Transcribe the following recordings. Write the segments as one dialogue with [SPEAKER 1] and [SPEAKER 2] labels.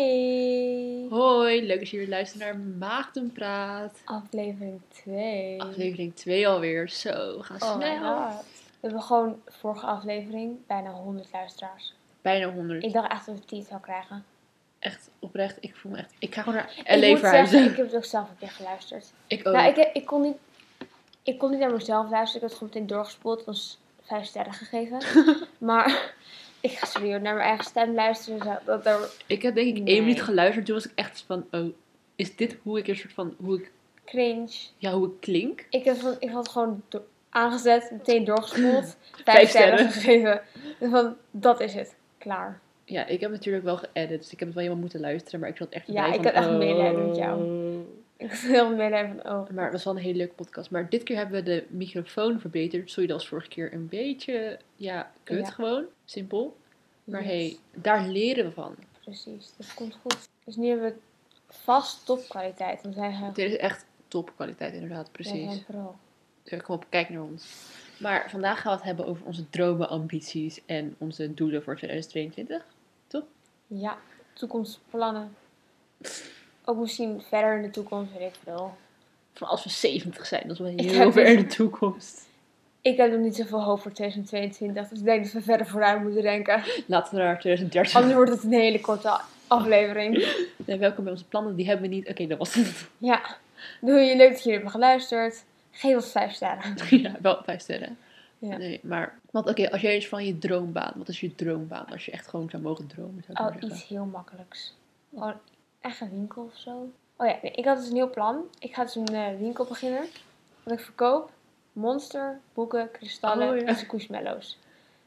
[SPEAKER 1] Hey,
[SPEAKER 2] Hoi, leuk dat je weer luistert naar Maagden Praat.
[SPEAKER 1] aflevering 2.
[SPEAKER 2] Aflevering 2 alweer. Zo, we gaan
[SPEAKER 1] Oh my
[SPEAKER 2] snel.
[SPEAKER 1] god. We hebben gewoon vorige aflevering bijna 100 luisteraars.
[SPEAKER 2] Bijna 100.
[SPEAKER 1] Ik dacht echt dat we 10 zou krijgen.
[SPEAKER 2] Echt oprecht, ik voel me echt... Ik ga gewoon naar
[SPEAKER 1] ik
[SPEAKER 2] LA
[SPEAKER 1] moet zeggen,
[SPEAKER 2] verhuizen.
[SPEAKER 1] ik heb het ook zelf een keer geluisterd.
[SPEAKER 2] Ik ook.
[SPEAKER 1] Nou, ik, heb- ik, kon niet, ik kon niet naar mezelf luisteren. Ik had het gewoon meteen doorgespoeld. Ons 5 sterren gegeven. maar ik ga serieus naar mijn eigen stem luisteren. Zo, dat er
[SPEAKER 2] Ik heb denk ik
[SPEAKER 1] Nee.
[SPEAKER 2] één minuut geluisterd. Toen was ik echt van... Oh, is dit hoe ik een soort van... Hoe ik,
[SPEAKER 1] cringe.
[SPEAKER 2] ja, hoe ik klink?
[SPEAKER 1] Ik, heb, van- ik had het gewoon do- aangezet, meteen doorgespoeld.
[SPEAKER 2] Vijf
[SPEAKER 1] Vijf sterren
[SPEAKER 2] sterren.
[SPEAKER 1] gegeven. Dus van, dat is het. Klaar.
[SPEAKER 2] Ja, ik heb natuurlijk wel geëdit. Dus ik heb het wel helemaal moeten luisteren. Maar ik zat echt
[SPEAKER 1] Ja,
[SPEAKER 2] bij
[SPEAKER 1] ik
[SPEAKER 2] van,
[SPEAKER 1] had echt
[SPEAKER 2] oh.
[SPEAKER 1] medelijden met jou. Ik was heel medelijden van, oh.
[SPEAKER 2] Maar het was wel een hele leuke podcast. Maar dit keer hebben we de microfoon verbeterd. Sorry, dat was vorige keer een beetje... Ja, kut
[SPEAKER 1] Ja.
[SPEAKER 2] gewoon. Simpel. Maar
[SPEAKER 1] yes.
[SPEAKER 2] hey, daar leren we van.
[SPEAKER 1] Precies, dat komt goed. Dus nu hebben we vast topkwaliteit. Dan zijn we,
[SPEAKER 2] Dit is echt topkwaliteit inderdaad,
[SPEAKER 1] wij zijn
[SPEAKER 2] precies.
[SPEAKER 1] pro.
[SPEAKER 2] Dus kom op, kijk naar ons. Maar vandaag gaan we het hebben over onze dromen, ambities en onze doelen voor 2022.
[SPEAKER 1] Ja, toekomstplannen. Ook misschien verder in de toekomst, weet ik veel.
[SPEAKER 2] Van als we 70 zijn, dat is wel
[SPEAKER 1] Ik
[SPEAKER 2] heel
[SPEAKER 1] heb
[SPEAKER 2] ver
[SPEAKER 1] dus-
[SPEAKER 2] in de toekomst.
[SPEAKER 1] Ik heb nog niet zoveel hoop voor 2022, dus ik denk dat we verder vooruit moeten denken.
[SPEAKER 2] Laten we naar 2030.
[SPEAKER 1] Anders wordt het een hele korte aflevering.
[SPEAKER 2] Nee, welkom bij onze plannen, die hebben we niet. Oké, dat was het.
[SPEAKER 1] Ja, doe je leuk dat jullie hebben geluisterd. Geef ons vijf sterren.
[SPEAKER 2] ja, wel vijf sterren.
[SPEAKER 1] Ja.
[SPEAKER 2] Nee, maar, want oké, als jij eens van je droombaan, wat is je droombaan? Als je echt gewoon zou mogen dromen, zou ik maar
[SPEAKER 1] Oh,
[SPEAKER 2] zeggen.
[SPEAKER 1] iets heel makkelijks. Gewoon echt een winkel of zo. Oh ja, nee, ik had dus een heel plan. Ik ga dus een eh, winkel beginnen. Wat ik verkoop. Monster, boeken, kristallen
[SPEAKER 2] Oh ja.
[SPEAKER 1] en squishmallows.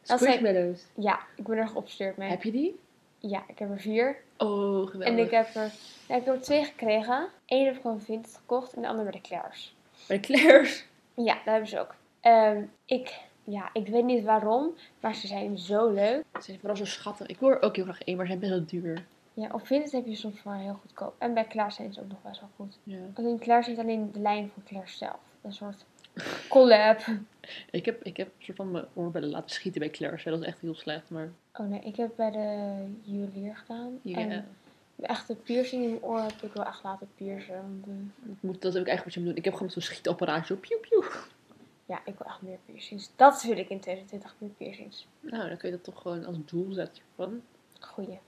[SPEAKER 1] Dat zijn-
[SPEAKER 2] Squishmallows.
[SPEAKER 1] Ja, ik ben er geobsedeerd mee.
[SPEAKER 2] Heb je die?
[SPEAKER 1] Ja, ik heb er vier.
[SPEAKER 2] Oh, geweldig.
[SPEAKER 1] En ik heb er, ja, ik heb er twee gekregen. Eén heb ik van Vinted gekocht en de andere bij de Claire's.
[SPEAKER 2] Bij Claire's.
[SPEAKER 1] Ja, daar hebben ze ook. Ehm, ik, ja, ik weet niet waarom, maar ze zijn zo leuk.
[SPEAKER 2] Ze zijn vooral zo schattig. Ik wil er ook heel graag één, maar ze zijn best wel duur.
[SPEAKER 1] Ja, op Vinted heb je soms maar heel goedkoop. En bij Claire's zijn ze ook nog best wel goed.
[SPEAKER 2] Ja.
[SPEAKER 1] Alleen Claire zit alleen de lijn van Claire zelf. Een soort collab.
[SPEAKER 2] Ik heb, ik heb een soort van mijn oorbellen laten schieten bij Claire's. Dat is echt heel slecht, maar
[SPEAKER 1] Oh nee, ik heb bij de juwelier gedaan.
[SPEAKER 2] ja,
[SPEAKER 1] En mijn echte piercing in mijn oor heb ik wel echt laten piercen. want, eh,
[SPEAKER 2] ik moet dat ook eigenlijk wat je moet doen. Ik heb gewoon zo'n schietapparaatje op. Piu, piu.
[SPEAKER 1] ja, ik wil echt meer piercings. Dat wil ik in 2020, meer piercings.
[SPEAKER 2] Nou, dan kun je dat toch gewoon als doel zetten. Van,
[SPEAKER 1] Goeie.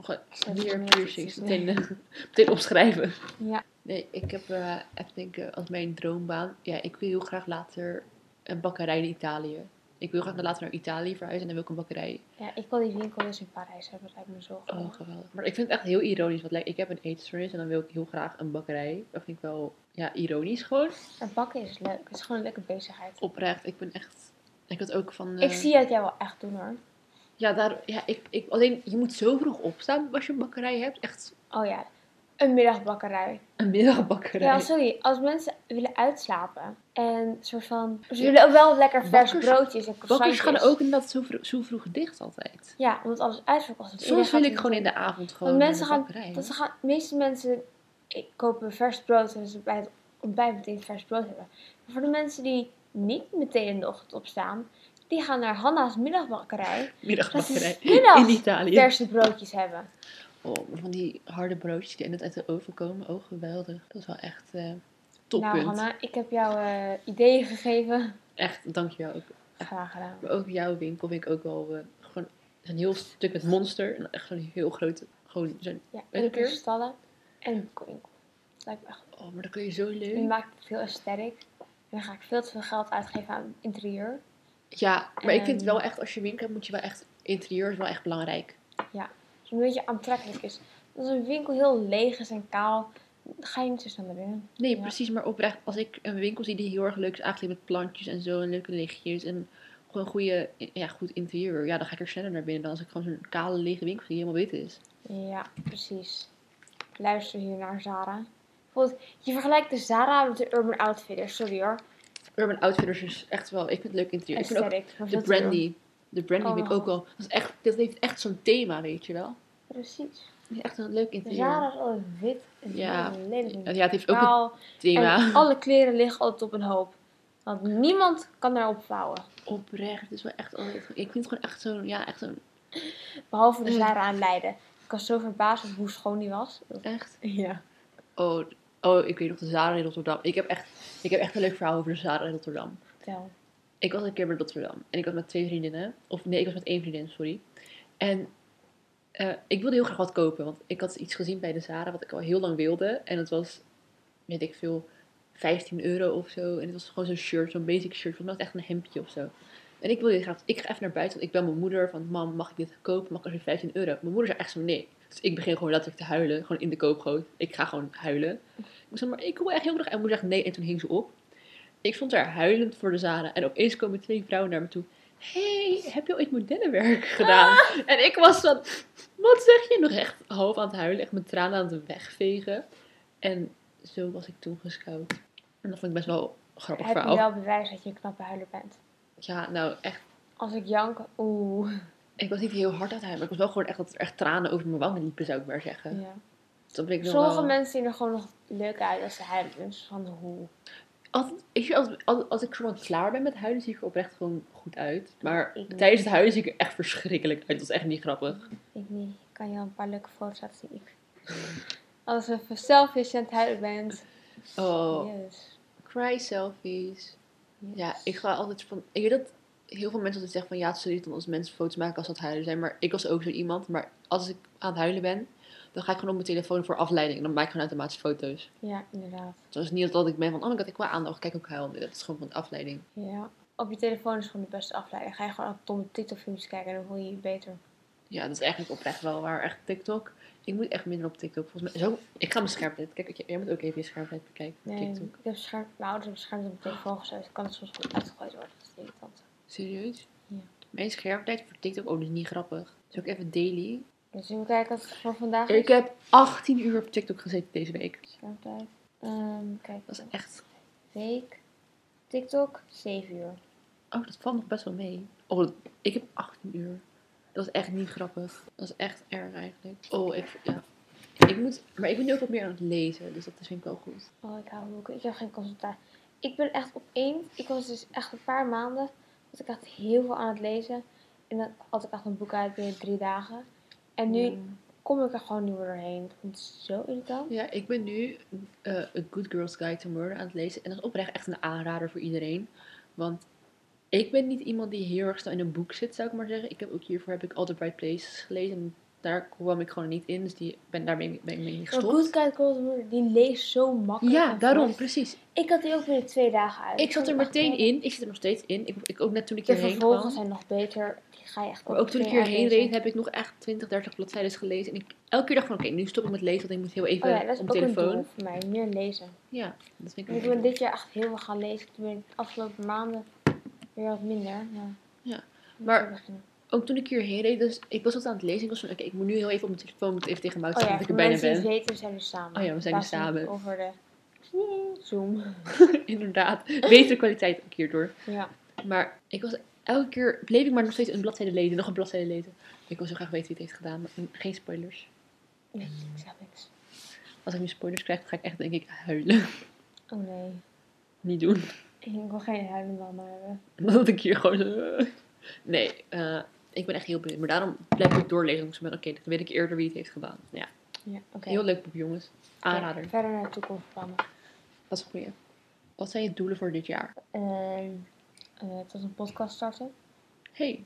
[SPEAKER 2] gewoon
[SPEAKER 1] Zet
[SPEAKER 2] meer
[SPEAKER 1] het neer,
[SPEAKER 2] piercings.
[SPEAKER 1] zet het
[SPEAKER 2] Meteen, eh, meteen opschrijven.
[SPEAKER 1] Ja.
[SPEAKER 2] Nee, ik heb eh even denken als mijn droombaan. Ja, ik wil heel graag later een bakkerij in Italië. Ik wil graag later naar Italië verhuizen en dan wil ik een bakkerij
[SPEAKER 1] Ja, ik wil die winkel dus in Parijs hebben. Dat lijkt me zo
[SPEAKER 2] Oh,
[SPEAKER 1] goed.
[SPEAKER 2] geweldig. Maar ik vind het echt heel ironisch. Want like, ik heb een eetstoornis en dan wil ik heel graag een bakkerij. Dat vind ik wel ja, ironisch gewoon.
[SPEAKER 1] Maar bakken is leuk. Het is gewoon een leuke bezigheid.
[SPEAKER 2] Oprecht. Ik ben echt... Ik had ook van... Oh, eh,
[SPEAKER 1] Ik zie het jij wel echt doen hoor.
[SPEAKER 2] Ja, daar, ja ik, ik, alleen je moet zo vroeg opstaan als je een bakkerij hebt. Echt
[SPEAKER 1] Oh ja, een middagbakkerij.
[SPEAKER 2] een middagbakkerij.
[SPEAKER 1] Ja, sorry. Als mensen willen uitslapen en soort van... Ze willen ook wel lekker vers
[SPEAKER 2] Bakkers-
[SPEAKER 1] broodjes en
[SPEAKER 2] Bakkers
[SPEAKER 1] croissantjes.
[SPEAKER 2] gaan ook inderdaad zo vroeg, zo vroeg dicht altijd.
[SPEAKER 1] Ja, omdat alles uitverkocht is.
[SPEAKER 2] Soms wil ik gewoon in de avond gewoon
[SPEAKER 1] Want mensen
[SPEAKER 2] naar de
[SPEAKER 1] gaan-
[SPEAKER 2] bakkerij.
[SPEAKER 1] Dat ze gaan, de meeste mensen eh, kopen vers brood en ze bij het ontbijt meteen vers brood hebben. Maar voor de mensen die niet meteen in de ochtend opstaan, die gaan naar Hanna's middagbakerij
[SPEAKER 2] Middagbakkerij.
[SPEAKER 1] dat is middag.
[SPEAKER 2] In Italië.
[SPEAKER 1] verse broodjes hebben.
[SPEAKER 2] Oh, maar van die harde broodjes die in het uit de oven komen. Oh, geweldig. Dat is wel echt eh toppunt.
[SPEAKER 1] Nou Hanna, ik heb jou eh, ideeën gegeven.
[SPEAKER 2] Echt, dankjewel ook.
[SPEAKER 1] Graag gedaan.
[SPEAKER 2] Maar ook jouw winkel vind ik ook wel eh, gewoon een heel stuk met monster. En echt zo'n heel groot. Gewoon zo'n.
[SPEAKER 1] Ja,
[SPEAKER 2] Weet
[SPEAKER 1] en
[SPEAKER 2] ik weer?
[SPEAKER 1] kristallen en boekwinkel. Dat lijkt me echt
[SPEAKER 2] Oh, maar dat kun je zo
[SPEAKER 1] Nu
[SPEAKER 2] leuk.
[SPEAKER 1] maak ik het veel aesthetic. En dan ga ik veel te veel geld uitgeven aan interieur.
[SPEAKER 2] Ja, maar ik vind
[SPEAKER 1] Ehm.
[SPEAKER 2] wel echt, als je winkel hebt, moet je wel echt. Interieur is wel echt belangrijk.
[SPEAKER 1] Dus een beetje aantrekkelijk is. Als een winkel heel leeg is en kaal, dan ga je niet zo snel naar binnen.
[SPEAKER 2] Nee,
[SPEAKER 1] Ja.
[SPEAKER 2] precies, maar oprecht. Als ik een winkel zie die heel erg leuk is aangekleed met plantjes en zo en leuke lichtjes en gewoon goede, ja, goed interieur. Ja, dan ga ik er sneller naar binnen dan als ik gewoon zo'n kale lege winkel zie die helemaal wit is.
[SPEAKER 1] Ja, precies. Luister hier naar Zara. Bijvoorbeeld, je vergelijkt de Zara met de Urban Outfitters. Sorry hoor.
[SPEAKER 2] Urban Outfitters is echt wel. Ik vind het leuk interieur. Ik vind ook
[SPEAKER 1] Aesthetic. maar
[SPEAKER 2] de
[SPEAKER 1] veel te duur.
[SPEAKER 2] brandy. De brandy
[SPEAKER 1] Oh.
[SPEAKER 2] vind ik ook wel. Dat, is echt, dat heeft echt zo'n thema, weet je wel.
[SPEAKER 1] Precies.
[SPEAKER 2] Ja, Echt een leuk
[SPEAKER 1] De
[SPEAKER 2] interieur.
[SPEAKER 1] Zara is altijd wit en
[SPEAKER 2] Ja.
[SPEAKER 1] lelijk.
[SPEAKER 2] Ja, het heeft ook een
[SPEAKER 1] kaal.
[SPEAKER 2] thema.
[SPEAKER 1] En alle kleren liggen altijd op een hoop. Want niemand kan daarop vouwen.
[SPEAKER 2] Oprecht, het is wel echt altijd... Ik vind het gewoon echt zo'n... Ja, echt zo'n...
[SPEAKER 1] Behalve de
[SPEAKER 2] Mm.
[SPEAKER 1] Zara aan Leiden. Ik was zo verbaasd over hoe schoon die was.
[SPEAKER 2] Echt?
[SPEAKER 1] Ja.
[SPEAKER 2] Oh, oh, ik weet nog de Zara in Rotterdam. Ik heb, echt, ik heb echt een leuk verhaal over de Zara in Rotterdam.
[SPEAKER 1] Vertel.
[SPEAKER 2] Ik was een keer bij Rotterdam. En ik was met twee vriendinnen. Of nee, ik was met één vriendin, sorry. En eh, ik wilde heel graag wat kopen. Want ik had iets gezien bij de Zara wat ik al heel lang wilde. En het was, weet ik veel, 15 euro of zo. En het was gewoon zo'n shirt, zo'n basic shirt. Volgens mij was het echt een hemdje of zo. En ik wilde heel graag, ik ga even naar buiten. Want ik bel mijn moeder van, mam, mag ik dit kopen? Mag ik alsjeblieft 15 euro? Mijn moeder zei echt zo, nee. Dus ik begin gewoon letterlijk te huilen. Gewoon in de koopgoot. Ik ga gewoon huilen. Ik zei, maar ik wil echt heel graag. En mijn moeder zegt nee. En toen hing ze op. Ik stond daar huilend voor de Zara. En opeens komen twee vrouwen naar me toe. hey, heb je ooit modellenwerk gedaan?
[SPEAKER 1] Ah!
[SPEAKER 2] En ik was van, wat zeg je? Nog echt half aan het huilen. Echt mijn tranen aan het wegvegen. En zo was ik toen gescout. En dat vond ik best wel een grappig
[SPEAKER 1] Heb je
[SPEAKER 2] verhaal.
[SPEAKER 1] wel bewijs dat je een knappe huiler bent?
[SPEAKER 2] Ja, nou echt.
[SPEAKER 1] Als ik jank, oeh.
[SPEAKER 2] Ik was niet heel hard aan het huilen. Maar ik was wel gewoon echt dat er echt tranen over mijn wangen liepen, zou ik maar zeggen.
[SPEAKER 1] Ja.
[SPEAKER 2] Dus dat vind ik nog
[SPEAKER 1] Sommige
[SPEAKER 2] wel-
[SPEAKER 1] mensen zien er gewoon nog leuk uit als ze huilen. Dus van hoe.
[SPEAKER 2] Altijd- ik zie altijd- als, als ik soort van klaar ben met huilen, zie ik er oprecht gewoon goed uit. Maar
[SPEAKER 1] Ik niet.
[SPEAKER 2] tijdens het huilen zie ik er echt verschrikkelijk uit. Dat is echt niet grappig.
[SPEAKER 1] Ik niet. Ik kan je wel een paar leuke foto's laten zien. Als je even selfies aan het huilen bent.
[SPEAKER 2] Oh.
[SPEAKER 1] Yes.
[SPEAKER 2] Cry selfies.
[SPEAKER 1] Yes.
[SPEAKER 2] Ja, ik ga altijd van. Ik weet dat heel veel mensen altijd zeggen van ja, het is irritant als mensen foto's maken als ze aan het huilen zijn. Maar ik was ook zo iemand. Maar als ik aan het huilen ben, dan ga ik gewoon op mijn telefoon voor afleiding. En dan maak ik gewoon automatisch foto's.
[SPEAKER 1] Ja, inderdaad.
[SPEAKER 2] Dus het is niet dat ik ben van oh my god, ik wil aandacht. Kijk ook huil. Nee, Dat is gewoon van afleiding.
[SPEAKER 1] Ja. Op je telefoon is gewoon de beste afleiding. Ga je gewoon op domme TikTok-filmpjes kijken en dan voel je je beter.
[SPEAKER 2] Ja, dat is eigenlijk oprecht wel waar. Echt TikTok. Ik moet echt minder op TikTok. Volgens mij. Zo, ik ga mijn schermtijd. Kijk, jij- jij moet ook even je schermtijd bekijken. op
[SPEAKER 1] Nee,
[SPEAKER 2] TikTok.
[SPEAKER 1] ik heb scherm, mijn ouders hebben scherm op mijn telefoon gezet. Dus kan het soms gewoon uitgegooid worden. Dat is irritant.
[SPEAKER 2] Serieus?
[SPEAKER 1] Ja.
[SPEAKER 2] Mijn schermtijd voor TikTok, oh, dat is niet grappig. Zal ik even daily?
[SPEAKER 1] Dus we kijken wat het voor vandaag is.
[SPEAKER 2] Ik heb 18 uur op TikTok gezeten deze week.
[SPEAKER 1] Schermtijd. Ehm, kijk,
[SPEAKER 2] Dat is echt.
[SPEAKER 1] week. TikTok, 7 uur.
[SPEAKER 2] Oh, dat valt nog best wel mee. Oh, dat- ik heb 18 uur. Dat is echt niet grappig. Dat is echt erg eigenlijk. Oh, ik, ja. Ik moet, maar ik ben nu ook wat meer aan het lezen, dus dat is vind ik wel goed.
[SPEAKER 1] Oh, ik hou van boeken. Ik heb geen consultatie. Ik ben echt op één. Ik was dus echt een paar maanden. Was ik echt heel veel aan het lezen. En dan had ik echt een boek uit binnen drie dagen. En nu kom ik er gewoon niet meer doorheen. Ik vind het zo irritant.
[SPEAKER 2] Ja, ik ben nu eh A Good Girl's Guide to Murder aan het lezen. En dat is oprecht echt een aanrader voor iedereen. Want ik ben niet iemand die heel erg snel in een boek zit, zou ik maar zeggen. Ik heb ook hiervoor heb ik All the Bright Places gelezen. En daar kwam ik gewoon niet in, dus die, ben, daarmee ben ik mee
[SPEAKER 1] Maar
[SPEAKER 2] gestopt.
[SPEAKER 1] Good Guide Golden Moeder, die leest zo makkelijk.
[SPEAKER 2] ja,
[SPEAKER 1] en
[SPEAKER 2] daarom,
[SPEAKER 1] vast.
[SPEAKER 2] precies.
[SPEAKER 1] Ik had die ook binnen twee dagen uit.
[SPEAKER 2] Ik zat er
[SPEAKER 1] vond het echt
[SPEAKER 2] meteen
[SPEAKER 1] heel-
[SPEAKER 2] in. Ik zit er nog steeds in. Ik, ik ook net toen ik
[SPEAKER 1] De
[SPEAKER 2] hierheen
[SPEAKER 1] vervolgen
[SPEAKER 2] kwam.
[SPEAKER 1] zijn nog beter. Die ga je echt
[SPEAKER 2] Maar ook toen ik
[SPEAKER 1] meteen
[SPEAKER 2] hierheen
[SPEAKER 1] uitlezen.
[SPEAKER 2] reed, heb ik nog echt 20, 30 bladzijden gelezen. En ik elke keer dacht van, oké, nu stop ik met lezen, want ik moet heel even
[SPEAKER 1] Oh ja, dat is
[SPEAKER 2] op
[SPEAKER 1] ook
[SPEAKER 2] mijn
[SPEAKER 1] een doel
[SPEAKER 2] telefoon.
[SPEAKER 1] voor mij. Meer lezen.
[SPEAKER 2] Ja, dat vind ik
[SPEAKER 1] Ik
[SPEAKER 2] ook leuk.
[SPEAKER 1] ben dit jaar echt heel veel gaan lezen. Toen ben ik de afgelopen maanden weer wat minder. Ja.
[SPEAKER 2] Ja,
[SPEAKER 1] Moet
[SPEAKER 2] maar-
[SPEAKER 1] ik beginnen.
[SPEAKER 2] Ook toen ik hierheen reed, dus ik was altijd aan het lezen. Ik was van, oké, ik moet nu heel even op mijn telefoon, moet even tegen Mout
[SPEAKER 1] Oh
[SPEAKER 2] zeggen
[SPEAKER 1] ja,
[SPEAKER 2] dat
[SPEAKER 1] voor
[SPEAKER 2] ik er bijna
[SPEAKER 1] mensen die
[SPEAKER 2] ben.
[SPEAKER 1] het weten, we zijn nu samen.
[SPEAKER 2] Oh ja, we zijn nu
[SPEAKER 1] Pas niet
[SPEAKER 2] samen.
[SPEAKER 1] Over de Zoom.
[SPEAKER 2] Inderdaad, betere kwaliteit ook hierdoor.
[SPEAKER 1] Ja.
[SPEAKER 2] Maar ik was elke keer, bleef ik maar nog steeds een bladzijde lezen, nog een bladzijde lezen. Ik wil zo graag weten wie het heeft gedaan, maar geen spoilers.
[SPEAKER 1] Nee, ik zeg niks.
[SPEAKER 2] Als ik nu spoilers krijg, dan ga ik echt, denk ik, huilen.
[SPEAKER 1] Oh nee.
[SPEAKER 2] Niet doen.
[SPEAKER 1] Ik wil geen huilende mama hebben.
[SPEAKER 2] Omdat ik hier gewoon. eh, Nee, eh, ik ben echt heel benieuwd. Maar daarom blijf ik doorlezen. omdat ik zo ben, Oké, dan weet ik eerder wie het heeft gedaan. Ja,
[SPEAKER 1] Ja, oké.
[SPEAKER 2] heel leuk boek, jongens.
[SPEAKER 1] Oké,
[SPEAKER 2] Aanrader.
[SPEAKER 1] Verder naar de toekomst plannen.
[SPEAKER 2] Dat is een goeie. Wat zijn je doelen voor dit jaar?
[SPEAKER 1] Ehm eh, tot een podcast starten.
[SPEAKER 2] Hey,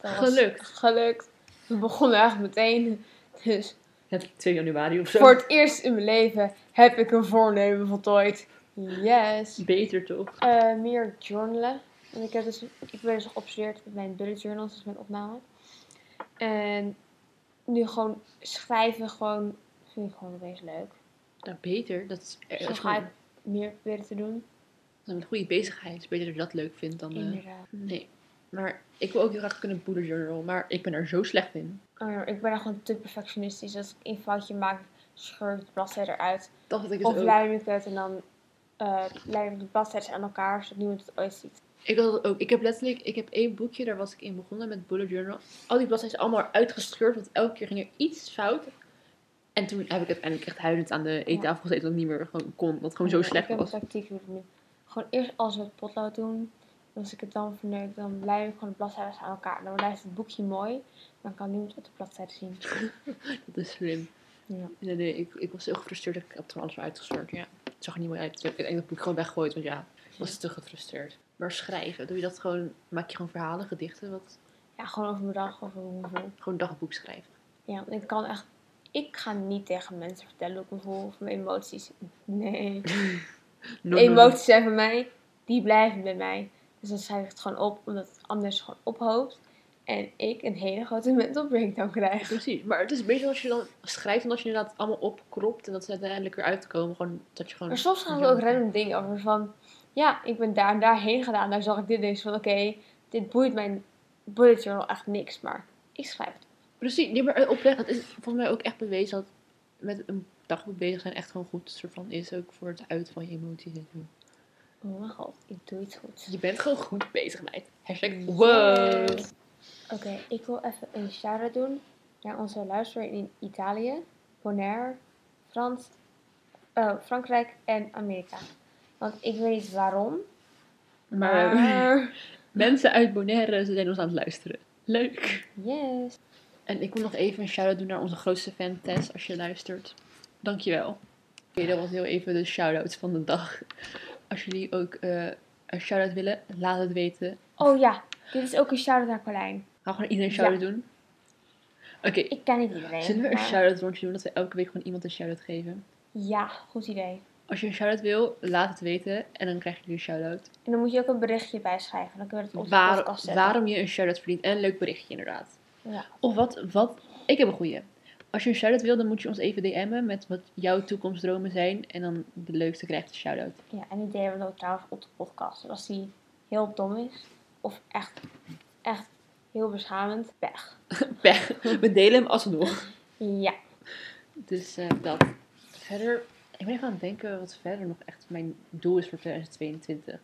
[SPEAKER 1] Dat was
[SPEAKER 2] Gelukt.
[SPEAKER 1] Gelukt. We begonnen echt meteen. Dus
[SPEAKER 2] het 2 januari of zo.
[SPEAKER 1] voor het eerst in mijn leven heb ik een voornemen voltooid. Yes.
[SPEAKER 2] Beter toch?
[SPEAKER 1] Eh, meer journalen. Want ik, heb dus, ik ben dus geobsedeerd met mijn bullet journals, dus mijn opname. En nu gewoon schrijven, gewoon, vind ik gewoon opeens leuk.
[SPEAKER 2] Nou, beter. Dat is, eh,
[SPEAKER 1] Zo
[SPEAKER 2] dat is
[SPEAKER 1] ga
[SPEAKER 2] gewoon
[SPEAKER 1] ik meer proberen te doen.
[SPEAKER 2] dat is een goede bezigheid. Het is beter dat je dat leuk vindt dan. eh,
[SPEAKER 1] Inderdaad.
[SPEAKER 2] nee. Maar ik wil ook heel graag kunnen bullet journal. Maar ik ben er zo slecht in.
[SPEAKER 1] Oh ja, ik ben er gewoon te perfectionistisch. Als ik één foutje maak, scheur ik de bladzijde eruit.
[SPEAKER 2] Dat had ik dus
[SPEAKER 1] Of
[SPEAKER 2] ook.
[SPEAKER 1] lijm ik het en dan eh lijm ik de bladzijden aan elkaar, zodat niemand het ooit ziet.
[SPEAKER 2] Ik had dat ook. Ik heb letterlijk, ik heb één boekje, daar was ik in begonnen met bullet journal. Al die bladzijden zijn allemaal uitgescheurd, want elke keer ging er iets fout. En toen heb ik uiteindelijk echt huilend aan de eettafel gezeten, dat ik niet meer gewoon kon, wat gewoon zo
[SPEAKER 1] Ja,
[SPEAKER 2] slecht
[SPEAKER 1] Ik heb
[SPEAKER 2] was.
[SPEAKER 1] een tactiek hoe ik het nu. Gewoon eerst alles met potlood doen. En als ik het dan verneuk, dan blijven gewoon de bladzijden aan elkaar. Dan blijft het boekje mooi, maar kan niemand op de bladzijde zien.
[SPEAKER 2] Dat is slim.
[SPEAKER 1] Ja.
[SPEAKER 2] Nee, nee, ik, ik was heel gefrustreerd. Ik heb het gewoon alles uitgestort. Ja. Het zag er niet mooi uit. Ik heb het boek gewoon weggooid, want ja, ik was te gefrustreerd. Maar schrijven, doe je dat gewoon, maak je gewoon verhalen, gedichten, wat,
[SPEAKER 1] Ja, gewoon over mijn dag, over hoe ik me voel.
[SPEAKER 2] gewoon dagboek schrijven.
[SPEAKER 1] Ja, want ik kan echt... Ik ga niet tegen mensen vertellen hoe ik me voel of mijn emoties. Nee.
[SPEAKER 2] No, no, no.
[SPEAKER 1] emoties zijn van mij, die blijven bij mij. Dus dan schrijf ik het gewoon op, omdat het anders gewoon ophoopt. En ik een hele grote mental breakdown krijg.
[SPEAKER 2] Precies, maar het is beter als je dan schrijft dan als je inderdaad allemaal opkropt en dat ze uiteindelijk weer uitkomen. Gewoon, dat je gewoon...
[SPEAKER 1] Maar soms gaan er ook random dingen over. Van, ja, ik ben daar en daarheen gedaan. Daar zag ik dit en ik van, oké, dit boeit mijn bullet journal echt niks. Maar ik schrijf het.
[SPEAKER 2] Precies, nee, maar oprecht, dat is volgens mij ook echt bewezen dat met een dagboek bezig zijn echt gewoon goed soort van is. Ook voor het uit van je emoties en zo.
[SPEAKER 1] Oh mijn god, ik doe iets goed.
[SPEAKER 2] Je bent gewoon goed bezig, meid. Hashtag wow.
[SPEAKER 1] Yes. Oké, ik wil even een shout-out doen naar onze luisteraar in Italië, Bonaire, Frans, eh, Frankrijk en Amerika. Want ik weet niet waarom,
[SPEAKER 2] Maar eh,
[SPEAKER 1] maar...
[SPEAKER 2] Ehm. mensen uit Bonaire, ze zijn ons aan het luisteren. Leuk.
[SPEAKER 1] Yes.
[SPEAKER 2] En ik wil nog even een shout-out doen naar onze grootste fan Tess, als je luistert. Dankjewel. Oké, dat was heel even de shout-out van de dag. Als jullie ook eh, een shout-out willen, laat het weten.
[SPEAKER 1] Oh ja, dit is ook een shout-out naar Colijn.
[SPEAKER 2] Ga gewoon iedereen een shout-out doen. Oké,
[SPEAKER 1] Ik ken niet iedereen.
[SPEAKER 2] Zullen we een
[SPEAKER 1] maar-
[SPEAKER 2] shout-out rondje doen? Dat we elke week gewoon iemand een shout-out geven.
[SPEAKER 1] Ja, goed idee.
[SPEAKER 2] Als je een shout-out wil, laat het weten. En dan krijg je een shout-out.
[SPEAKER 1] En dan moet je ook een berichtje bijschrijven. Dan kunnen we het op de
[SPEAKER 2] Waar-
[SPEAKER 1] podcast zetten.
[SPEAKER 2] waarom je een shout-out verdient. En een leuk berichtje inderdaad.
[SPEAKER 1] Ja.
[SPEAKER 2] Of wat, wat... Ik heb een goeie. Als je een shout-out wil, dan moet je ons even DM'en met wat jouw toekomstdromen zijn. En dan de leukste krijgt een shout-out.
[SPEAKER 1] ja, en die delen we ook trouwens op de podcast. Dus als die heel dom is, of echt, echt heel beschamend, weg.
[SPEAKER 2] Pech. We delen hem alsnog.
[SPEAKER 1] Ja.
[SPEAKER 2] Dus eh, dat. Verder... Ik ben even aan het denken wat verder nog echt mijn doel is voor 2022.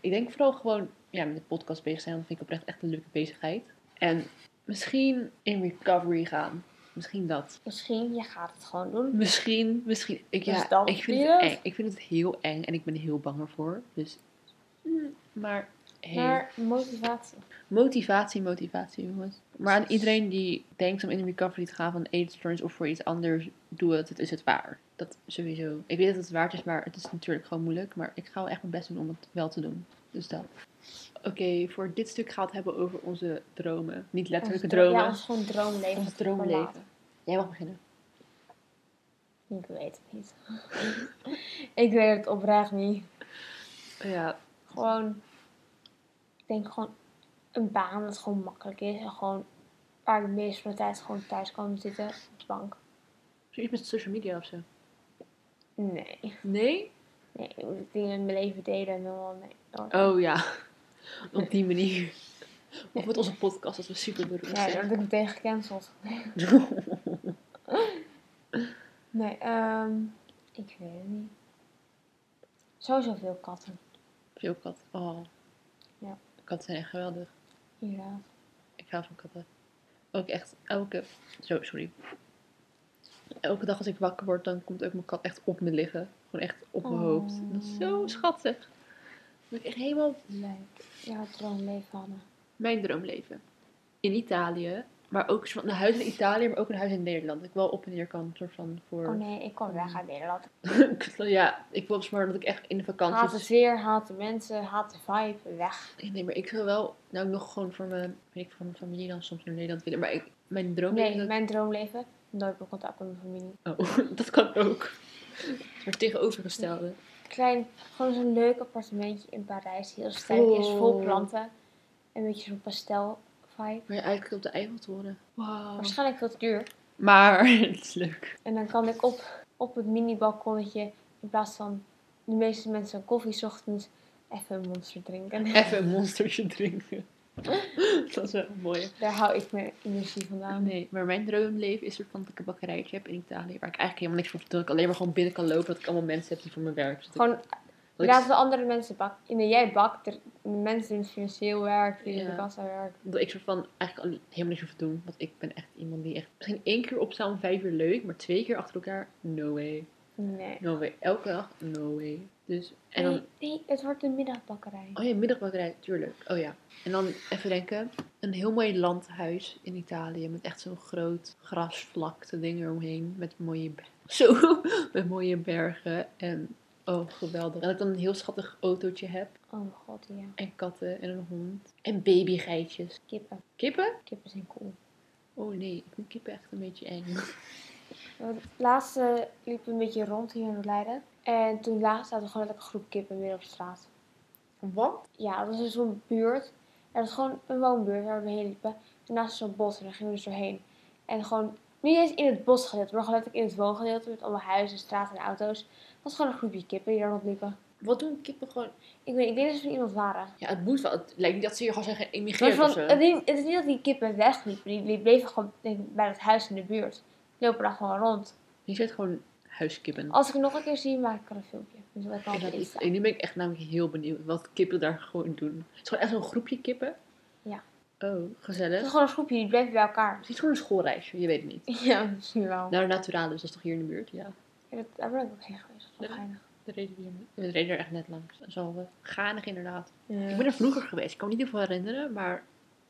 [SPEAKER 2] Ik denk vooral gewoon ja, met de podcast bezig zijn. Dat vind ik oprecht echt een leuke bezigheid. En misschien in recovery gaan. Misschien dat.
[SPEAKER 1] Misschien, je gaat het gewoon doen.
[SPEAKER 2] Misschien, misschien. Ik, ja,
[SPEAKER 1] Dus dan
[SPEAKER 2] ik vind
[SPEAKER 1] weer?
[SPEAKER 2] het eng. Ik vind het heel eng en ik ben er heel bang voor. Dus, mm, maar, hey.
[SPEAKER 1] Maar motivatie.
[SPEAKER 2] motivatie, motivatie, jongens. Maar aan iedereen die denkt om in recovery te gaan van eetstoornis of voor iets anders, doe het. Het is het waar. Dat sowieso. Ik weet dat het waard is, maar het is natuurlijk gewoon moeilijk. Maar ik ga wel echt mijn best doen om het wel te doen. Dus dat. Oké, voor dit stuk gaat het hebben over onze dromen. Niet letterlijke
[SPEAKER 1] Ons dro-
[SPEAKER 2] dromen.
[SPEAKER 1] Ja, ons gewoon droomleven.
[SPEAKER 2] ons droomleven. Jij mag beginnen.
[SPEAKER 1] Ik weet het niet. ik weet het oprecht niet.
[SPEAKER 2] Ja,
[SPEAKER 1] Gewoon, ik denk gewoon een baan dat gewoon makkelijk is. En gewoon waar ik de meeste van de tijd gewoon thuis kan zitten op de bank.
[SPEAKER 2] zoiets met social media of zo.
[SPEAKER 1] Nee.
[SPEAKER 2] Nee?
[SPEAKER 1] Nee, ik moet dingen in mijn leven delen en dan wel nee. Dan-
[SPEAKER 2] Oh ja, op die manier. Of met onze podcast, dat we super beroemd
[SPEAKER 1] nee, dan
[SPEAKER 2] zijn.
[SPEAKER 1] word ik meteen gecanceld. Nee, ehm ik weet het niet. Sowieso veel katten,
[SPEAKER 2] Veel kat. Oh.
[SPEAKER 1] Ja.
[SPEAKER 2] Katten zijn echt geweldig.
[SPEAKER 1] inderdaad.
[SPEAKER 2] Ik hou van katten. Ook echt elke... Zo, sorry. Elke dag als ik wakker word, dan komt ook mijn kat echt op me liggen. Gewoon echt op mijn
[SPEAKER 1] Oh.
[SPEAKER 2] hoofd. Dat is zo schattig. Dan ben ik echt helemaal
[SPEAKER 1] Leuk. Ja, het droomleven, Hanna.
[SPEAKER 2] mijn droomleven. In Italië. Maar ook zo- een huis in Italië, maar ook een huis in Nederland. Ik wel op en neer kan, soort van voor...
[SPEAKER 1] Oh nee, ik kom weg uit Nederland.
[SPEAKER 2] ja, ik wil maar dat ik echt in de
[SPEAKER 1] Haat
[SPEAKER 2] vakanties...
[SPEAKER 1] het weer, haat de mensen, haat de vibe, weg.
[SPEAKER 2] Ja, Nee, maar ik wil wel, nou ik nog gewoon voor mijn, weet ik, voor mijn familie dan soms naar Nederland willen. Maar ik, mijn droom is
[SPEAKER 1] Nee,
[SPEAKER 2] dat...
[SPEAKER 1] mijn droomleven, nooit meer contact met mijn familie.
[SPEAKER 2] Oh, dat kan ook. Maar tegenovergestelde.
[SPEAKER 1] Klein, gewoon zo'n leuk appartementje in Parijs, die heel sterk is, vol
[SPEAKER 2] Oh.
[SPEAKER 1] planten. Een beetje zo'n pastel vibe.
[SPEAKER 2] Maar ja, eigenlijk op de Eiffeltoren. Wauw.
[SPEAKER 1] Waarschijnlijk veel te duur.
[SPEAKER 2] Maar het is leuk.
[SPEAKER 1] En dan kan ik op, op het mini-balkonnetje, in plaats van de meeste mensen een koffie 's ochtends, even een monster drinken.
[SPEAKER 2] Even een monstertje drinken. dat is wel mooi.
[SPEAKER 1] Daar hou ik mijn energie vandaan.
[SPEAKER 2] Nee, maar mijn droomleven is soort van dat ik een bakkerijtje heb in Italië. Waar ik eigenlijk helemaal niks van vertel. Ik alleen maar gewoon binnen kan lopen. Dat ik allemaal mensen heb die voor mijn werk zitten.
[SPEAKER 1] Gewoon
[SPEAKER 2] Dat ik-
[SPEAKER 1] laten de andere mensen bakken. En jij bakt, er- de mensen in het financieel werk, die in de
[SPEAKER 2] Ja.
[SPEAKER 1] kassa werkt.
[SPEAKER 2] Dat ik soort van eigenlijk al- helemaal niks hoef te doen. Want ik ben echt iemand die echt... Misschien één keer opstaan om vijf uur leuk. Maar twee keer achter elkaar, no way.
[SPEAKER 1] Nee.
[SPEAKER 2] No way. Elke dag? No way. Dus, en dan,
[SPEAKER 1] nee, nee, het wordt een middagbakkerij.
[SPEAKER 2] oh ja, middagbatterij, tuurlijk. Oh ja. En dan even denken, een heel mooi landhuis in Italië met echt zo'n groot grasvlakte ding eromheen. Met mooie, be- zo, met mooie bergen en, oh geweldig. En dat ik dan een heel schattig autootje heb
[SPEAKER 1] Oh mijn god, ja.
[SPEAKER 2] en katten en een hond. En babygeitjes.
[SPEAKER 1] Kippen.
[SPEAKER 2] Kippen?
[SPEAKER 1] Kippen zijn cool.
[SPEAKER 2] Oh nee, ik vind kippen echt een beetje eng.
[SPEAKER 1] Want Laatst eh, liepen we een beetje rond hier in Leiden. En toen laatst zaten we gewoon een groep kippen midden op straat.
[SPEAKER 2] Wat?
[SPEAKER 1] Ja, dat is zo'n buurt. En dat is gewoon een woonbuurt waar we heen liepen. En naast is zo'n bos en daar gingen we dus doorheen. En gewoon, niet eens in het bosgedeelte, maar gewoon letterlijk in het woongedeelte. Met allemaal huizen, straten en auto's. Dat was gewoon een groepje kippen die daar rondliepen.
[SPEAKER 2] Wat doen kippen gewoon?
[SPEAKER 1] Ik weet, ik denk dat ze van iemand waren.
[SPEAKER 2] Ja, het moet wel. Het lijkt niet dat ze hier gewoon zeggen
[SPEAKER 1] Maar
[SPEAKER 2] emigreer
[SPEAKER 1] van,
[SPEAKER 2] of zo.
[SPEAKER 1] het, is niet, het is niet dat die kippen wegliepen. Die, die bleven gewoon denk ik, bij het huis in de buurt. Die lopen daar gewoon rond.
[SPEAKER 2] Je zit gewoon huiskippen.
[SPEAKER 1] Als ik het nog een keer zie, maak ik er een filmpje. Dus dat kan
[SPEAKER 2] En
[SPEAKER 1] ik
[SPEAKER 2] Oh, dat
[SPEAKER 1] wel
[SPEAKER 2] is,
[SPEAKER 1] Insta.
[SPEAKER 2] en nu ben ik echt namelijk heel benieuwd wat kippen daar gewoon doen. Het is gewoon echt zo'n groepje kippen.
[SPEAKER 1] Ja.
[SPEAKER 2] Oh,
[SPEAKER 1] Het is
[SPEAKER 2] gezellig.
[SPEAKER 1] gewoon een groepje, die blijven bij elkaar.
[SPEAKER 2] Het is gewoon een schoolreisje, je weet het niet.
[SPEAKER 1] Ja, misschien wel.
[SPEAKER 2] Nou, Naturalis, dat is toch hier in de buurt? Ja.
[SPEAKER 1] Ja, dat, daar ben ik ook heen geweest. Dat was wel
[SPEAKER 2] Ja.
[SPEAKER 1] geinig.
[SPEAKER 2] We reden hier niet. We reden er echt net langs. Dat is al eh, ganig inderdaad. Ik ben
[SPEAKER 1] Ja.
[SPEAKER 2] er vroeger geweest. Ik kan me niet heel veel herinneren, maar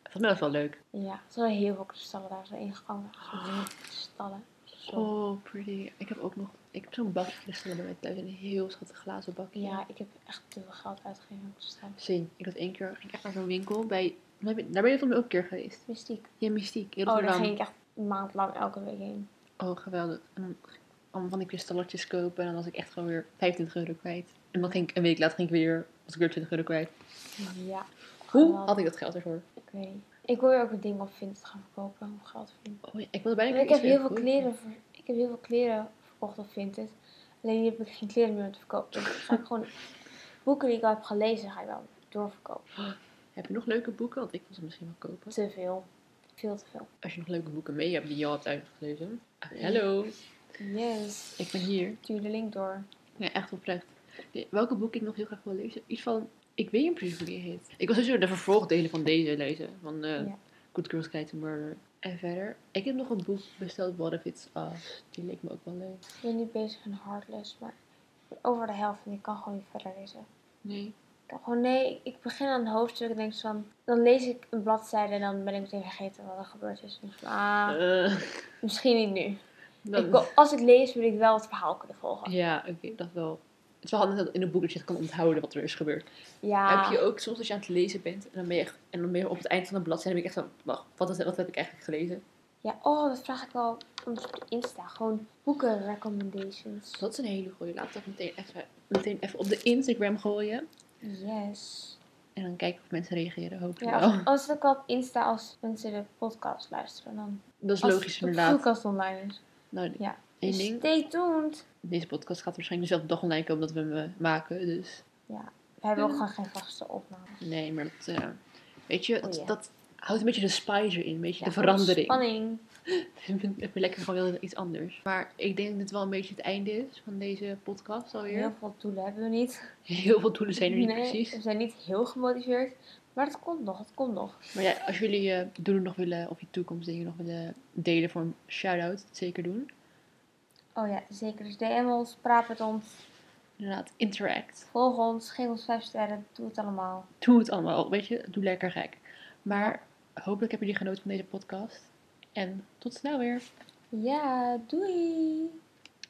[SPEAKER 2] volgens mij was het wel leuk.
[SPEAKER 1] ja, er zijn heel veel kristallen daar zo ingehangen. Zo'n Kristallen. Zo.
[SPEAKER 2] Oh, pretty. Ik heb ook nog... Ik heb zo'n bakje kristallen bij mij thuis. Een heel schattig glazen bakje.
[SPEAKER 1] Ja, ik heb echt te veel geld uitgegeven om te staan.
[SPEAKER 2] Zin. Ik had één keer... Ging ik echt naar zo'n winkel bij... Daar ben daar ben je volgens mij ook een keer geweest.
[SPEAKER 1] Mystiek.
[SPEAKER 2] Ja, Mystiek. In
[SPEAKER 1] Oh, daar
[SPEAKER 2] Rotterdam.
[SPEAKER 1] ging ik echt een maand lang elke week heen.
[SPEAKER 2] Oh, geweldig. En dan ging ik allemaal van die kristalletjes kopen. En dan was ik echt gewoon weer 25 euro kwijt. En dan ging ik een week later ging ik weer... Was ik weer 20 euro kwijt.
[SPEAKER 1] Ja.
[SPEAKER 2] Hoe
[SPEAKER 1] geweldig.
[SPEAKER 2] had ik dat geld ervoor?
[SPEAKER 1] Ik weet niet. Ik wil je ook een ding op Vinted gaan verkopen om geld te verdienen.
[SPEAKER 2] Oh, ja, ik wilde bijna...
[SPEAKER 1] Ik, ik
[SPEAKER 2] iets
[SPEAKER 1] heb heel veel
[SPEAKER 2] kopen.
[SPEAKER 1] kleren ver- ik heb heel veel kleren verkocht op Vinted. Alleen nu heb ik geen kleren meer om te verkopen. Dus ga ik gewoon boeken die ik al heb gelezen, ga ik wel doorverkopen.
[SPEAKER 2] Heb je nog leuke boeken? Want ik wil ze misschien wel kopen.
[SPEAKER 1] Te veel. Veel te veel.
[SPEAKER 2] Als je nog leuke boeken mee hebt die je al hebt uitgelezen. Ah, Hallo,
[SPEAKER 1] Yes.
[SPEAKER 2] ik ben hier.
[SPEAKER 1] Stuur de link door.
[SPEAKER 2] Ja, echt oprecht. Nee, welke boek ik nog heel graag wil lezen? Iets van, ik weet niet precies hoe die heet. Ik wil sowieso de vervolgdelen van deze lezen. Van eh
[SPEAKER 1] Ja.
[SPEAKER 2] Good Girls Guide to Murder. En verder, ik heb nog een boek besteld, What If It's Us. Die leek me ook wel leuk.
[SPEAKER 1] Ik ben niet bezig in Heartless, maar ik ben over de helft en ik kan gewoon niet verder lezen.
[SPEAKER 2] Nee.
[SPEAKER 1] Ik heb gewoon, nee, ik begin aan een hoofdstuk en denk zo van, dan lees ik een bladzijde en dan ben ik meteen vergeten wat er gebeurd is. Dus, ah,
[SPEAKER 2] Eh,
[SPEAKER 1] misschien niet nu.
[SPEAKER 2] dan-
[SPEAKER 1] Ik wil- als ik lees, wil ik wel het verhaal kunnen volgen.
[SPEAKER 2] ja, oké, dat wel. Het is wel handig dat in een boek dat je het kan onthouden wat er is gebeurd.
[SPEAKER 1] Ja,
[SPEAKER 2] Heb je ook soms als je aan het lezen bent en dan ben je, echt, en dan ben je op het eind van een bladzijde en dan ben ik echt zo, wacht, wat, is- wat heb ik eigenlijk gelezen?
[SPEAKER 1] ja oh, dat vraag ik wel ons op Insta. Gewoon boeken recommendations.
[SPEAKER 2] Dat is een hele goeie. Laat dat meteen even, meteen even op de Instagram gooien.
[SPEAKER 1] Yes.
[SPEAKER 2] En dan kijken of mensen reageren, hopelijk
[SPEAKER 1] Ja,
[SPEAKER 2] wel.
[SPEAKER 1] als, als het ook wel op Insta als mensen de podcast luisteren, dan...
[SPEAKER 2] Dat is
[SPEAKER 1] als
[SPEAKER 2] logisch,
[SPEAKER 1] de
[SPEAKER 2] inderdaad.
[SPEAKER 1] podcast online is.
[SPEAKER 2] Nou,
[SPEAKER 1] Ja.
[SPEAKER 2] één
[SPEAKER 1] Dus
[SPEAKER 2] ding.
[SPEAKER 1] Stay tuned.
[SPEAKER 2] Deze podcast gaat waarschijnlijk dezelfde dag online komen dat we hem eh, maken. Dus
[SPEAKER 1] We hebben ook
[SPEAKER 2] Ja.
[SPEAKER 1] gewoon geen vaste opname.
[SPEAKER 2] nee, maar dat... eh, weet je, dat,
[SPEAKER 1] Oh, ja.
[SPEAKER 2] dat houdt een beetje de spice in. Een beetje
[SPEAKER 1] Ja,
[SPEAKER 2] de verandering. Oh, Dus
[SPEAKER 1] Spanning.
[SPEAKER 2] Even lekker gewoon wel iets anders. Maar ik denk dat dit wel een beetje het einde is van deze podcast alweer.
[SPEAKER 1] Heel veel doelen hebben we niet.
[SPEAKER 2] Heel veel doelen zijn er niet
[SPEAKER 1] Nee,
[SPEAKER 2] precies.
[SPEAKER 1] We zijn niet heel gemotiveerd. Maar het komt nog, het komt nog.
[SPEAKER 2] Maar ja, als jullie eh, doelen nog willen, of je toekomstdingen nog willen delen voor een shout-out, zeker doen.
[SPEAKER 1] Oh ja, zeker. Dus DM ons, praat met ons,
[SPEAKER 2] Inderdaad, interact.
[SPEAKER 1] volg ons, geef ons 5 sterren, doe het allemaal.
[SPEAKER 2] Doe het allemaal, weet je, doe lekker gek. Maar hopelijk hebben jullie genoten van deze podcast. En tot snel weer.
[SPEAKER 1] Ja, doei!